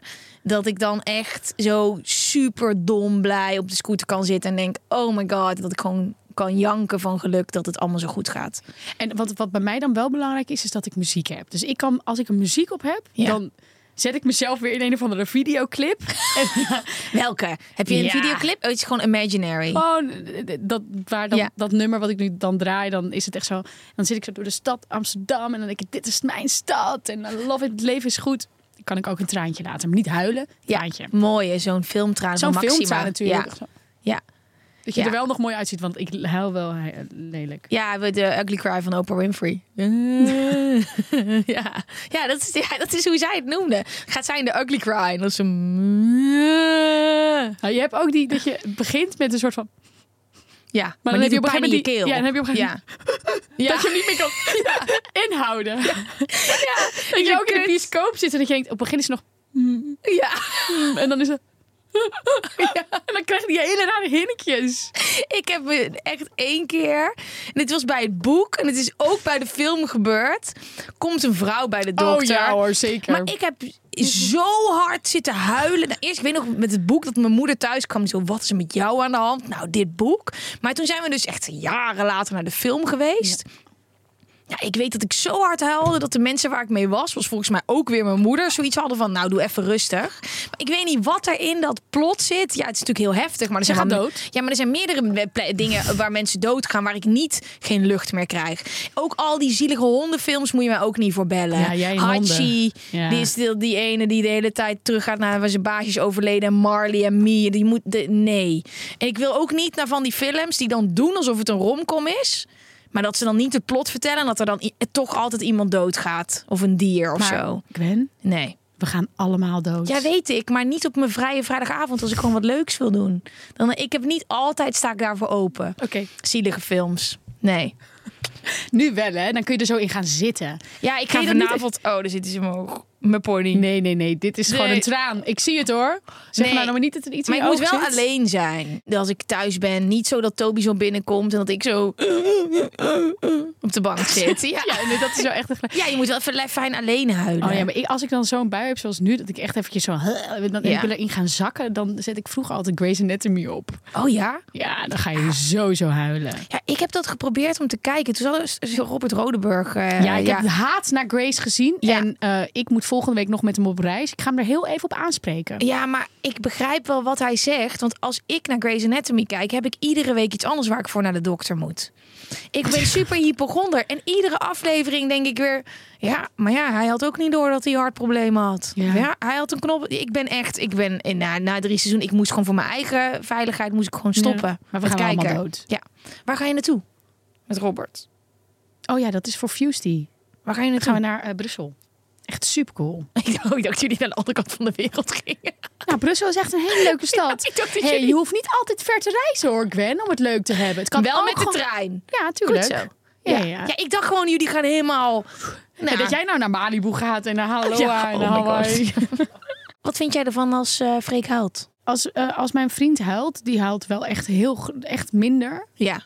dat ik dan echt zo super dom blij op de scooter kan zitten en denk oh my god, dat ik gewoon kan janken van geluk dat het allemaal zo goed gaat.
En wat, wat bij mij dan wel belangrijk is, is dat ik muziek heb. Dus ik kan, als ik een muziek op heb,
Ja.
dan zet ik mezelf weer in een of andere videoclip. en,
Welke? Heb je een
Ja.
videoclip? Oh, het is gewoon imaginary.
gewoon eh, dat, waar dan,
Ja.
dat nummer wat ik nu dan draai, dan is het echt zo. Dan zit ik zo door de stad Amsterdam en dan denk ik, dit is mijn stad. En I love it, het leven is goed. Dan kan ik ook een traantje laten, maar niet huilen, traantje.
Mooie, zo'n filmtraan
Zo'n
van Maxima.
filmtraan natuurlijk.
Ja. ja.
Dat je
Ja.
er wel nog mooi uitziet, want ik huil wel eh, lelijk.
Ja, we- de Ugly Cry van Oprah Winfrey. ja. Ja, dat is, ja, dat is hoe zij het noemde. Gaat zij in de Ugly Cry. En dan is ze...
Nou, je hebt ook die, dat je begint met een soort van...
Ja, maar,
Maar, dan,
niet
heb je
een
op een
pijn
gegeven
in je
moment
keel.
die- Ja, dan heb je op een gegeven moment
ja.
dat je hem niet meer kan inhouden. Ja. Dat je ook in de bioscoop zit en dat je denkt, op het begin is het nog... mm,
ja.
En dan is het... En dan krijg je die hele rare hinnetjes.
Ik heb me echt één keer. En dit was bij het boek. En het is ook bij de film gebeurd. Komt een vrouw bij de
Oh,
dokter.
zeker.
Maar ik heb
Mhm.
zo hard zitten huilen. Nou, eerst, ik weet nog met het boek dat mijn moeder thuis kwam. Zo, wat is er met jou aan de hand? Nou, dit boek. Maar toen zijn we dus echt jaren later naar de film geweest. Ja, ik weet dat ik zo hard huilde dat de mensen waar ik mee was, was volgens mij ook weer mijn moeder, zoiets hadden van, nou doe even rustig. Maar ik weet niet wat er in dat plot zit. Ja, het is natuurlijk heel heftig, maar er zijn
gaat
wel-
dood.
Ja, maar er zijn meerdere ple- dingen waar mensen doodgaan, waar ik niet geen lucht meer krijg. Ook al die zielige hondenfilms moet je mij ook niet voor bellen.
Ja, jij en
Hachi,
honden. Ja.
die is die, die ene die de hele tijd teruggaat naar waar zijn baasjes overleden en Marley en Mie. Die moet de, nee. En ik wil ook niet naar van die films die dan doen alsof het een romcom is. Maar dat ze dan niet het plot vertellen en dat er dan i- toch altijd iemand doodgaat. Of een dier of zo.
Gwen,
Nee.
we gaan allemaal dood.
Ja, weet ik. Maar niet op mijn vrije vrijdagavond als ik gewoon wat leuks wil doen. Dan, ik heb niet altijd sta ik daarvoor open.
Oké,
Zielige films. Nee.
nu wel hè. Dan kun je er zo in gaan zitten.
Ja, ik
Ken
ga
je dat niet?
vanavond... Oh, daar zitten ze omhoog. Mijn pony.
Nee, nee, nee. Dit is gewoon
Nee.
een traan. Ik zie het hoor. Zeg
Nee.
nou, nou maar niet dat er iets
Maar
in
ik
je
moet
oog
wel
zit.
alleen zijn als ik thuis ben. Niet zo dat Toby zo binnenkomt en dat ik zo eh, op de bank zit. Ja,
Ja, nee, dat is wel echt een...
ja je moet wel even le- fijn alleen huilen.
Oh ja, maar ik, als ik dan zo'n bui heb zoals nu, dat ik echt eventjes zo... Dan
Ja.
ik wil erin gaan zakken, dan zet ik vroeger altijd Grey's Anatomy op.
Oh ja?
Ja, dan ga je sowieso huilen.
Ja, ik heb dat geprobeerd om te kijken. Toen zat er- Robert Rodeburg. eh,
Ja, ik heb de haat naar Grace gezien.
Ja.
En eh, ik moet volgende week nog met hem op reis. Ik ga hem er heel even op aanspreken.
Ja, maar ik begrijp wel wat hij zegt. Want als ik naar Grey's Anatomy kijk, heb ik iedere week iets anders waar ik voor naar de dokter moet. Ik ben super hypochonder. En iedere aflevering denk ik weer... Ja, maar ja, hij had ook niet door dat hij hartproblemen had. Ja.
Ja.
hij had een knop. Ik ben echt... Ik ben eh, na, na drie seizoenen... Ik moest gewoon voor mijn eigen veiligheid moest ik gewoon stoppen.
Ja, maar we
met
gaan
kijken.
allemaal dood.
Ja. Waar ga je naartoe? Met Robert.
Oh ja, dat is voor Fusty.
Waar ga je
Dan
naartoe?
gaan we naar eh, Brussel. Echt super cool.
Ik dacht- ik dacht jullie naar de andere kant van de wereld gingen.
Nou, Brussel is echt een hele leuke stad.
ik dacht dat
hey,
jullie-
Je hoeft niet altijd ver te reizen hoor, Gwen, om het leuk te hebben. Het kan
Wel
ook
met de
gewoon-
trein.
Ja,
Goed
tuurlijk.
zo.
Ja, ja.
Ja, ik dacht gewoon, jullie gaan helemaal...
En
Nou,
dat jij nou naar Malibu gaat en naar Haloa
Ja,
en
oh
naar
my
Hawaii.
Wat vind jij ervan als eh Freek huilt?
Als, eh, als mijn vriend huilt, die huilt wel echt heel gro- echt minder.
Ja,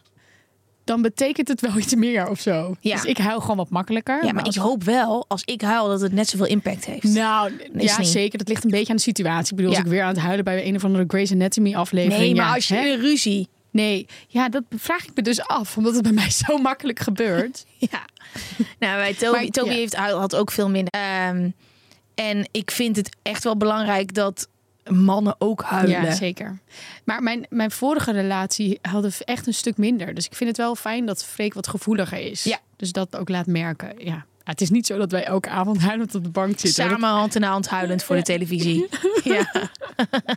Dan betekent het wel iets meer of zo.
Ja.
Dus ik huil gewoon wat makkelijker.
ja maar
als
ik hoop wel, als ik huil, dat het net zoveel impact heeft.
Nou,
is
ja,
niet.
zeker. Dat ligt een beetje aan de situatie. Ik bedoel,
Ja.
als ik weer aan het huilen bij een of andere Grey's Anatomy aflevering.
nee, maar
ja,
als je
hè?
een ruzie...
Nee, ja, dat vraag ik me dus af. Omdat het bij mij zo makkelijk gebeurt.
Ja. Nou, bij Toby,
Maar,
Toby
ja.
heeft, huil- had ook veel minder. Ehm, en ik vind het echt wel belangrijk dat eh, mannen ook huilen.
Ja, zeker. Maar mijn, mijn vorige relatie hadden we echt een stuk minder. Dus ik vind het wel fijn dat Freek wat gevoeliger is.
Ja.
Dus dat ook laat merken. Ja. Ja, het is niet zo dat wij elke avond huilend op de bank zitten.
Samen hand in hand huilend voor de televisie. ja.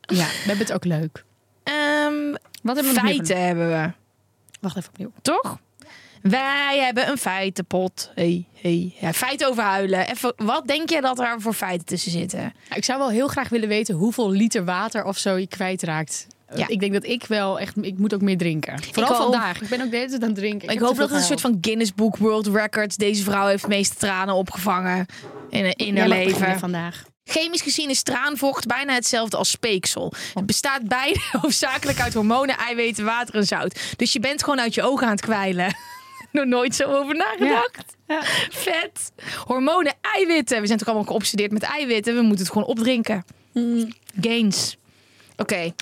Ja, we hebben het ook leuk.
Ehm,
Wat hebben we nog meer
feiten hebben we,
van- Wacht even opnieuw.
toch? Wij hebben een feitenpot. Hey, hey. Ja, feiten over huilen. Even, wat denk je dat er voor feiten tussen zitten?
Nou, ik zou wel heel graag willen weten hoeveel liter water of zo je kwijtraakt.
Ja.
Ik denk dat ik wel echt... Ik moet ook meer drinken. Vooral
ook.
vandaag. Ik ben ook de hele tijd aan het drinken.
Ik,
heb
hoop
te
dat
veel
het een soort
gehuild.
van Guinness Book World Records... deze vrouw heeft de meeste tranen opgevangen in, in haar
Jij mag beginnen
leven.
vandaag.
Chemisch gezien is traanvocht bijna hetzelfde als speeksel. Het bestaat beide hoofdzakelijk uit hormonen, eiwitten, water en zout. Dus je bent gewoon uit je ogen aan het kwijlen. Nog nooit zo over nagedacht. Vet. Hormonen, eiwitten. We zijn toch allemaal geobsedeerd met eiwitten. We moeten het gewoon opdrinken.
Mm.
Gains. Oké.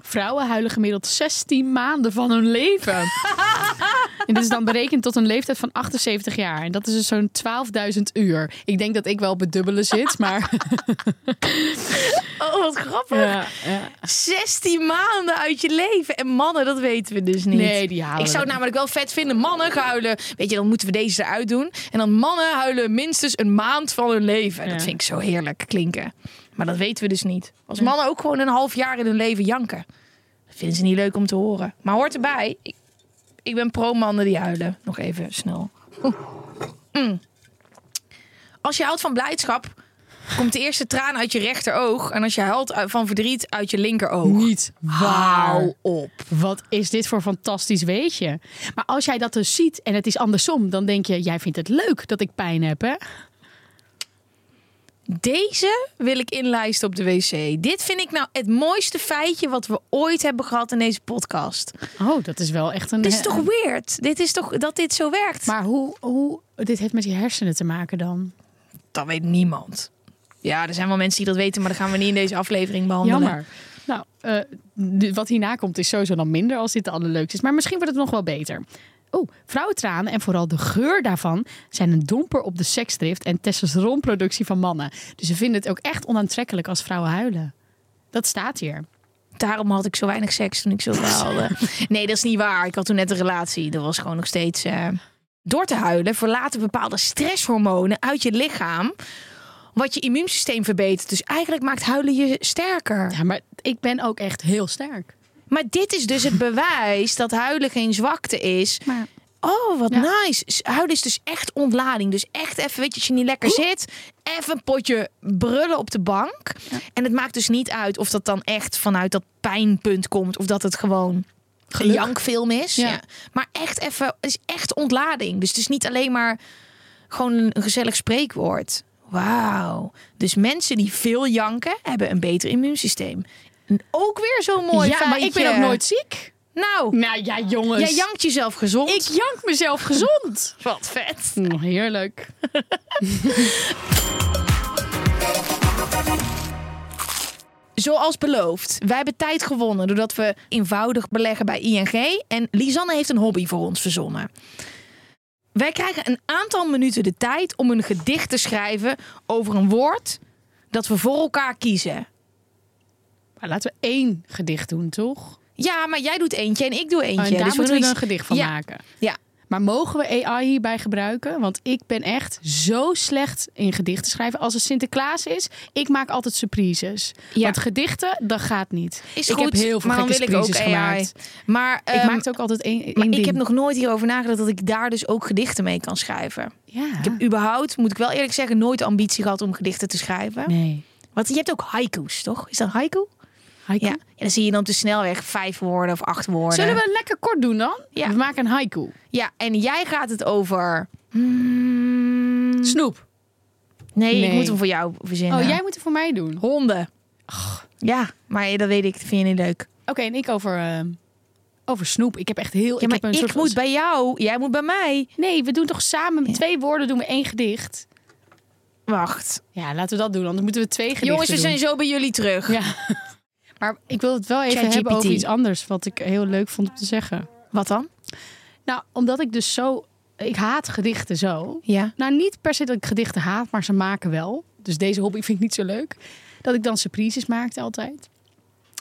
Vrouwen huilen gemiddeld 16 maanden van hun leven. en dit is dan berekend tot een leeftijd van 78 jaar. En dat is dus zo'n 12.000 uur. Ik denk dat ik wel op het dubbele zit, maar...
Oh, wat grappig.
Ja, ja.
16 maanden uit je leven. En mannen, dat weten we dus niet.
Nee, die halen
Ik zou het
we.
namelijk wel vet vinden. Mannen gaan huilen. Weet je, dan moeten we deze eruit doen. En dan mannen huilen minstens een maand van hun leven. Dat
Ja.
vind ik zo heerlijk klinken. Maar dat weten we dus niet. Als mannen ook gewoon een half jaar in hun leven janken. Dat vinden ze niet leuk om te horen. Maar hoort erbij. Ik, ik ben pro-mannen die huilen. Nog even snel. Oeh. Mm. Als je houdt van blijdschap, komt de eerste traan uit je rechteroog. En als je huilt uit- van verdriet, uit je linkeroog.
Niet
Hou op.
Wat is dit voor fantastisch weetje? Maar als jij dat dus ziet en het is andersom, dan denk je... Jij vindt het leuk dat ik pijn heb, hè?
Deze wil ik inlijsten op de wc. Dit vind ik nou het mooiste feitje wat we ooit hebben gehad in deze podcast.
Oh, dat is wel echt een...
Dit is toch weird? Dit is toch dat dit zo werkt?
Maar hoe, hoe... Dit heeft met je hersenen te maken dan.
dat weet niemand. Ja, er zijn wel mensen die dat weten, maar dat gaan we niet in deze aflevering behandelen.
Jammer. Nou, eh, de- wat hierna komt is sowieso dan minder als dit de allerleukste is. Maar misschien wordt het nog wel beter. Oh, vrouwentranen en vooral de geur daarvan zijn een domper op de seksdrift en testosteronproductie van mannen. Dus ze vinden het ook echt onaantrekkelijk als vrouwen huilen. Dat staat hier.
Daarom had ik zo weinig seks toen ik zo huilde. nee, dat is niet waar. Ik had toen net een relatie. Dat was gewoon nog steeds. eh, Door te huilen verlaten bepaalde stresshormonen uit je lichaam. Wat je immuunsysteem verbetert. Dus eigenlijk maakt huilen je sterker.
Ja, maar ik ben ook echt heel sterk.
Maar dit is dus het bewijs dat huilen geen zwakte is.
Maar
Oh, wat
Ja.
nice. S- Huilen is dus echt ontlading. Dus echt even, weet je, als je niet lekker zit, even een potje brullen op de bank. En het maakt dus niet uit of dat dan echt vanuit dat pijnpunt komt. Of dat het gewoon een jankfilm is. Ja.
Ja.
Maar echt even, het is echt ontlading. Dus het is niet alleen maar gewoon een een gezellig spreekwoord. Wauw. Dus mensen die veel janken, hebben een beter immuunsysteem. En ook weer zo'n mooi
ja, maar ik ben ook
feitje.
nooit ziek.
Nou,
Nou ja, jongens.
jij jankt jezelf gezond.
Ik jank mezelf gezond.
Wat vet.
Oh, heerlijk.
Zoals beloofd, wij hebben tijd gewonnen doordat we eenvoudig beleggen bij ING. En Lisanne heeft een hobby voor ons verzonnen. Wij krijgen een aantal minuten de tijd om een gedicht te schrijven over een woord dat we voor elkaar kiezen.
Maar laten we één gedicht doen, toch?
Ja, maar jij doet eentje en ik doe eentje.
Oh, en daar moeten
Dus
we er
doen
een
iets-
gedicht van
ja,
maken.
Ja,
Maar mogen we AI hierbij gebruiken? Want ik ben echt zo slecht in gedichten schrijven. Als het Sinterklaas is, ik maak altijd surprises.
Ja.
Want gedichten, dat gaat niet.
is
ik
goed.
heb heel veel
maar dan
gekke
wil ik ook
surprises
AI.
gemaakt.
Maar,
ik
ehm,
maak ook altijd één, één
maar
ding.
ik heb nog nooit hierover nagedacht dat ik daar dus ook gedichten mee kan schrijven.
Ja.
Ik heb überhaupt, moet ik wel eerlijk zeggen, nooit de ambitie gehad om gedichten te schrijven.
Nee.
Want je hebt ook haiku's, toch? Is dat haiku?
Haiku?
Ja. En dan zie je dan op de snelweg vijf woorden of acht woorden.
Zullen we het lekker kort doen dan?
Ja.
We maken een haiku.
Ja, en jij gaat het over... Mm.
Snoep.
Nee, ik
Nee.
moet hem voor jou verzinnen.
Oh, jij moet het voor mij doen. Oké,
Honden. Ja, maar dat weet ik. Dat vind je niet leuk.
en ik over, ehm, over snoep. Ik heb echt heel...
Ja, maar
heb een
ik,
soort van-
moet bij jou. Jij moet bij mij.
Nee, we doen toch samen met twee woorden doen we één gedicht.
Wacht.
Ja, laten we dat doen. Anders moeten we twee gedichten
Jongens, we
doen.
zijn zo bij jullie terug.
Ja. Maar ik wil het wel even
ChatGPT.
hebben over iets anders wat ik heel leuk vond om te zeggen.
Wat dan?
Nou, omdat ik dus zo ik haat gedichten zo.
Ja.
Nou, niet per se dat ik gedichten haat, maar ze maken wel. Dus deze hobby vind ik niet zo leuk. Dat ik dan surprises maakte altijd.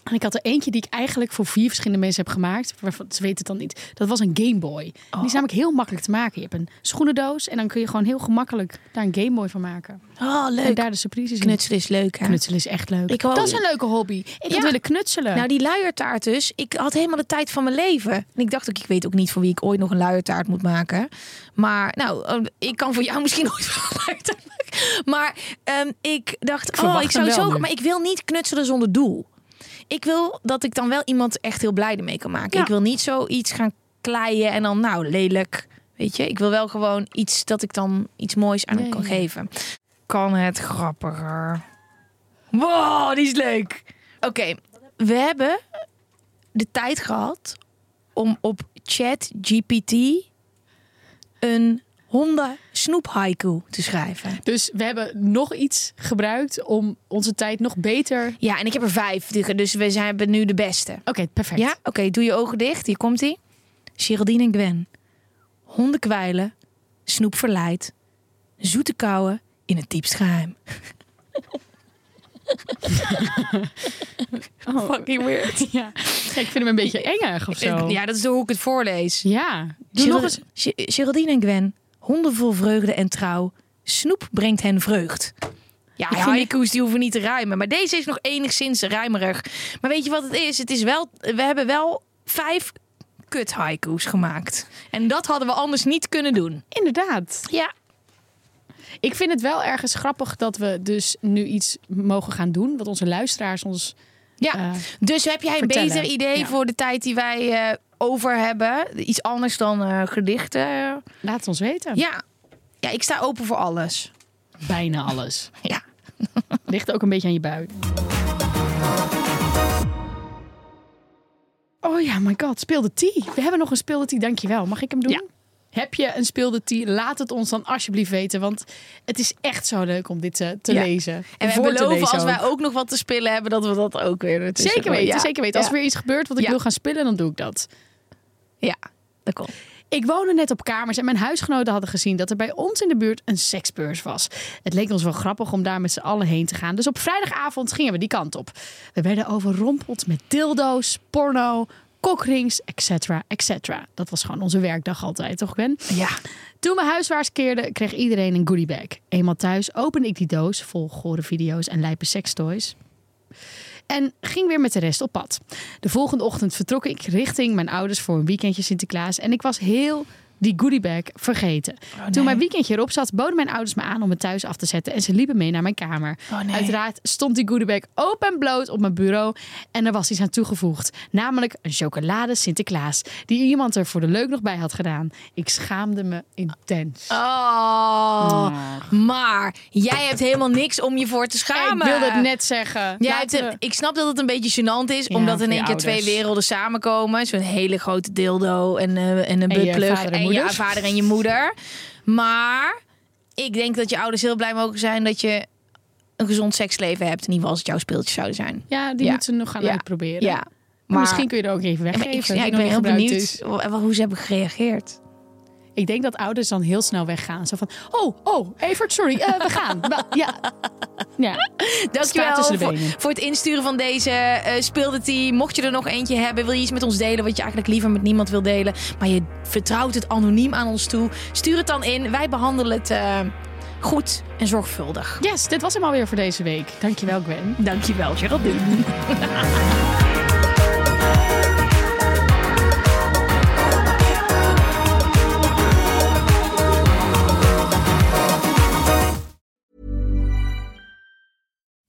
En ik had er eentje die ik eigenlijk voor vier verschillende mensen heb gemaakt. Waarvan ze weten het dan niet. Dat was een Game Boy. En
Oh.
Die is namelijk heel makkelijk te maken. Je hebt een schoenendoos en dan kun je gewoon heel gemakkelijk daar een Game Boy van maken.
Oh,
En
leuk.
daar de surprises in.
Knutselen is leuk, hè?
Knutselen is echt leuk.
Ik wou-
dat is een leuke hobby. Ik had
Ja.
willen knutselen.
Nou, die luiertaart dus. Ik had helemaal de tijd van mijn leven. En ik dacht ook, ik weet ook niet voor wie ik ooit nog een luiertaart moet maken. Maar nou, eh, ik kan voor jou misschien ooit wel een luiertaart maken. Maar ehm, ik dacht, oh,
verwacht
ik zou
hem wel
zo...
nu.
Maar ik wil niet knutselen zonder doel. Ik wil dat ik dan wel iemand echt heel blij ermee kan maken.
Ja.
Ik wil niet zoiets gaan kleien en dan, nou, lelijk. Weet je, ik wil wel gewoon iets dat ik dan iets moois aan hem
Ja,
kan
ja, ja.
geven. Kan het grappiger. Wow, die is leuk. Oké, we hebben de tijd gehad om op ChatGPT een Honda snoep haiku te schrijven.
Dus we hebben nog iets gebruikt om onze tijd nog beter... Oké,
Ja, en ik heb er vijf, dus we zijn hebben nu de beste.
perfect.
Ja, oké, doe je ogen dicht. Hier komt ie. Geraldine en Gwen. Honden kwijlen, snoep verleid, zoete kouwen in het diepst geheim. Fucking weird.
Ja. Ik vind hem een beetje engig of Oh. zo.
Ja, dat is hoe ik het voorlees.
Ja. Doe
Geral-
nog eens.
Ge- Geraldine en Gwen, honden vol vreugde en trouw. Snoep brengt hen vreugd. Ja,
vind-
haiku's die hoeven niet te rijmen. Maar deze is nog enigszins rijmerig. Maar weet je wat het is? Het is wel, we hebben wel vijf kut haiku's gemaakt. En dat hadden we anders niet kunnen doen.
Inderdaad.
Ja.
Ik vind het wel ergens grappig dat we dus nu iets mogen gaan doen. Wat onze luisteraars ons...
Ja,
eh,
dus heb jij een
Vertellen.
beter idee
Ja.
voor de tijd die wij eh, over hebben? Iets anders dan eh, gedichten?
laat het ons weten.
Ja. ja, ik sta open voor alles.
Bijna alles.
Ja.
Ligt ook een beetje aan je bui. Oh ja, my god. Speelde tea. We hebben nog een speelde tea. Dankjewel. Mag ik hem doen?
Ja.
Heb je een speelde tea? Laat het ons dan alsjeblieft weten. Want het is echt zo leuk om dit eh, te
Ja.
lezen.
En we
voor te
beloven
lezen
als wij
ook.
ook nog wat te spillen hebben, dat we dat ook weer ertussen
Zeker
gooien.
weten,
Ja.
zeker weten. Als
ja.
er weer iets gebeurt wat ik
Ja.
wil gaan spillen, dan doe ik dat.
Ja, dat komt.
Ik woonde net op kamers en mijn huisgenoten hadden gezien dat er bij ons in de buurt een seksbeurs was. Het leek ons wel grappig om daar met z'n allen heen te gaan. Dus op vrijdagavond gingen we die kant op. We werden overrompeld met dildo's, porno, kokrings, etc. etc. Dat was gewoon onze werkdag altijd, toch Gwen?
Ja.
Toen we huiswaarts keerden, kreeg iedereen een goodiebag. Eenmaal thuis opende ik die doos vol gore video's en lijpe sextoys. En ging weer met de rest op pad. De volgende ochtend vertrok ik richting mijn ouders voor een weekendje Sinterklaas. En ik was heel die goodiebag vergeten.
Oh,
Toen mijn weekendje erop zat, boden mijn ouders me aan om het thuis af te zetten. En ze liepen mee naar mijn kamer.
Oh, nee.
Uiteraard stond die goodiebag open en bloot op mijn bureau. En er was iets aan toegevoegd. Namelijk een chocolade Sinterklaas. Die iemand er voor de leuk nog bij had gedaan. Ik schaamde me intens.
Oh, maar jij hebt helemaal niks om je voor te
Mm. ik
schamen.
wilde het net zeggen.
Jij
Laten
hebt-
we-
ik snap dat het een beetje gênant is,
Ja,
omdat
voor
in
je
één keer twee
ouders.
werelden samenkomen. Zo'n hele grote dildo en, eh, en een
En je
buttplug
vader en moeder.
je vader en je moeder. Maar ik denk dat je ouders heel blij mogen zijn dat je een gezond seksleven hebt. In ieder geval als het jouw speeltje zouden zijn.
Ja, die
Ja.
moeten ze nog gaan
Ja.
uitproberen.
Ja,
Maar misschien kun je er ook even
Ja, maar
weggeven.
ik,
die
ja, ik
nog niet
ben heel
gebruikt
benieuwd
is.
w- hoe ze hebben gereageerd.
Ik denk dat ouders dan heel snel weggaan. Zo van, oh, oh, Evert, sorry, eh, we gaan. Wel, ja. ja.
Dankjewel
tussen
voor,
de benen.
voor het insturen van deze eh speelde die. Mocht je er nog eentje hebben, wil je iets met ons delen wat je eigenlijk liever met niemand wil delen, maar je vertrouwt het anoniem aan ons toe, stuur het dan in. Wij behandelen het eh, goed en zorgvuldig.
Yes, dit was hem alweer voor deze week. Dankjewel, Gwen.
Dankjewel, Geraldine.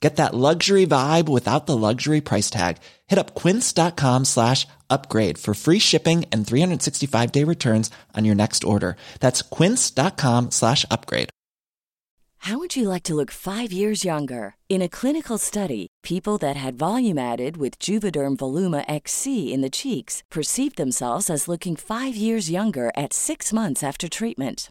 Get that luxury vibe without the luxury price tag. Hit up quince.com slash upgrade for free shipping and 365 day returns on your next order. That's quince.com slash upgrade.
How would you like to look five years younger? In a clinical study, people that had volume added with Juvederm Voluma XC in the cheeks perceived themselves as looking five years younger at six months after treatment.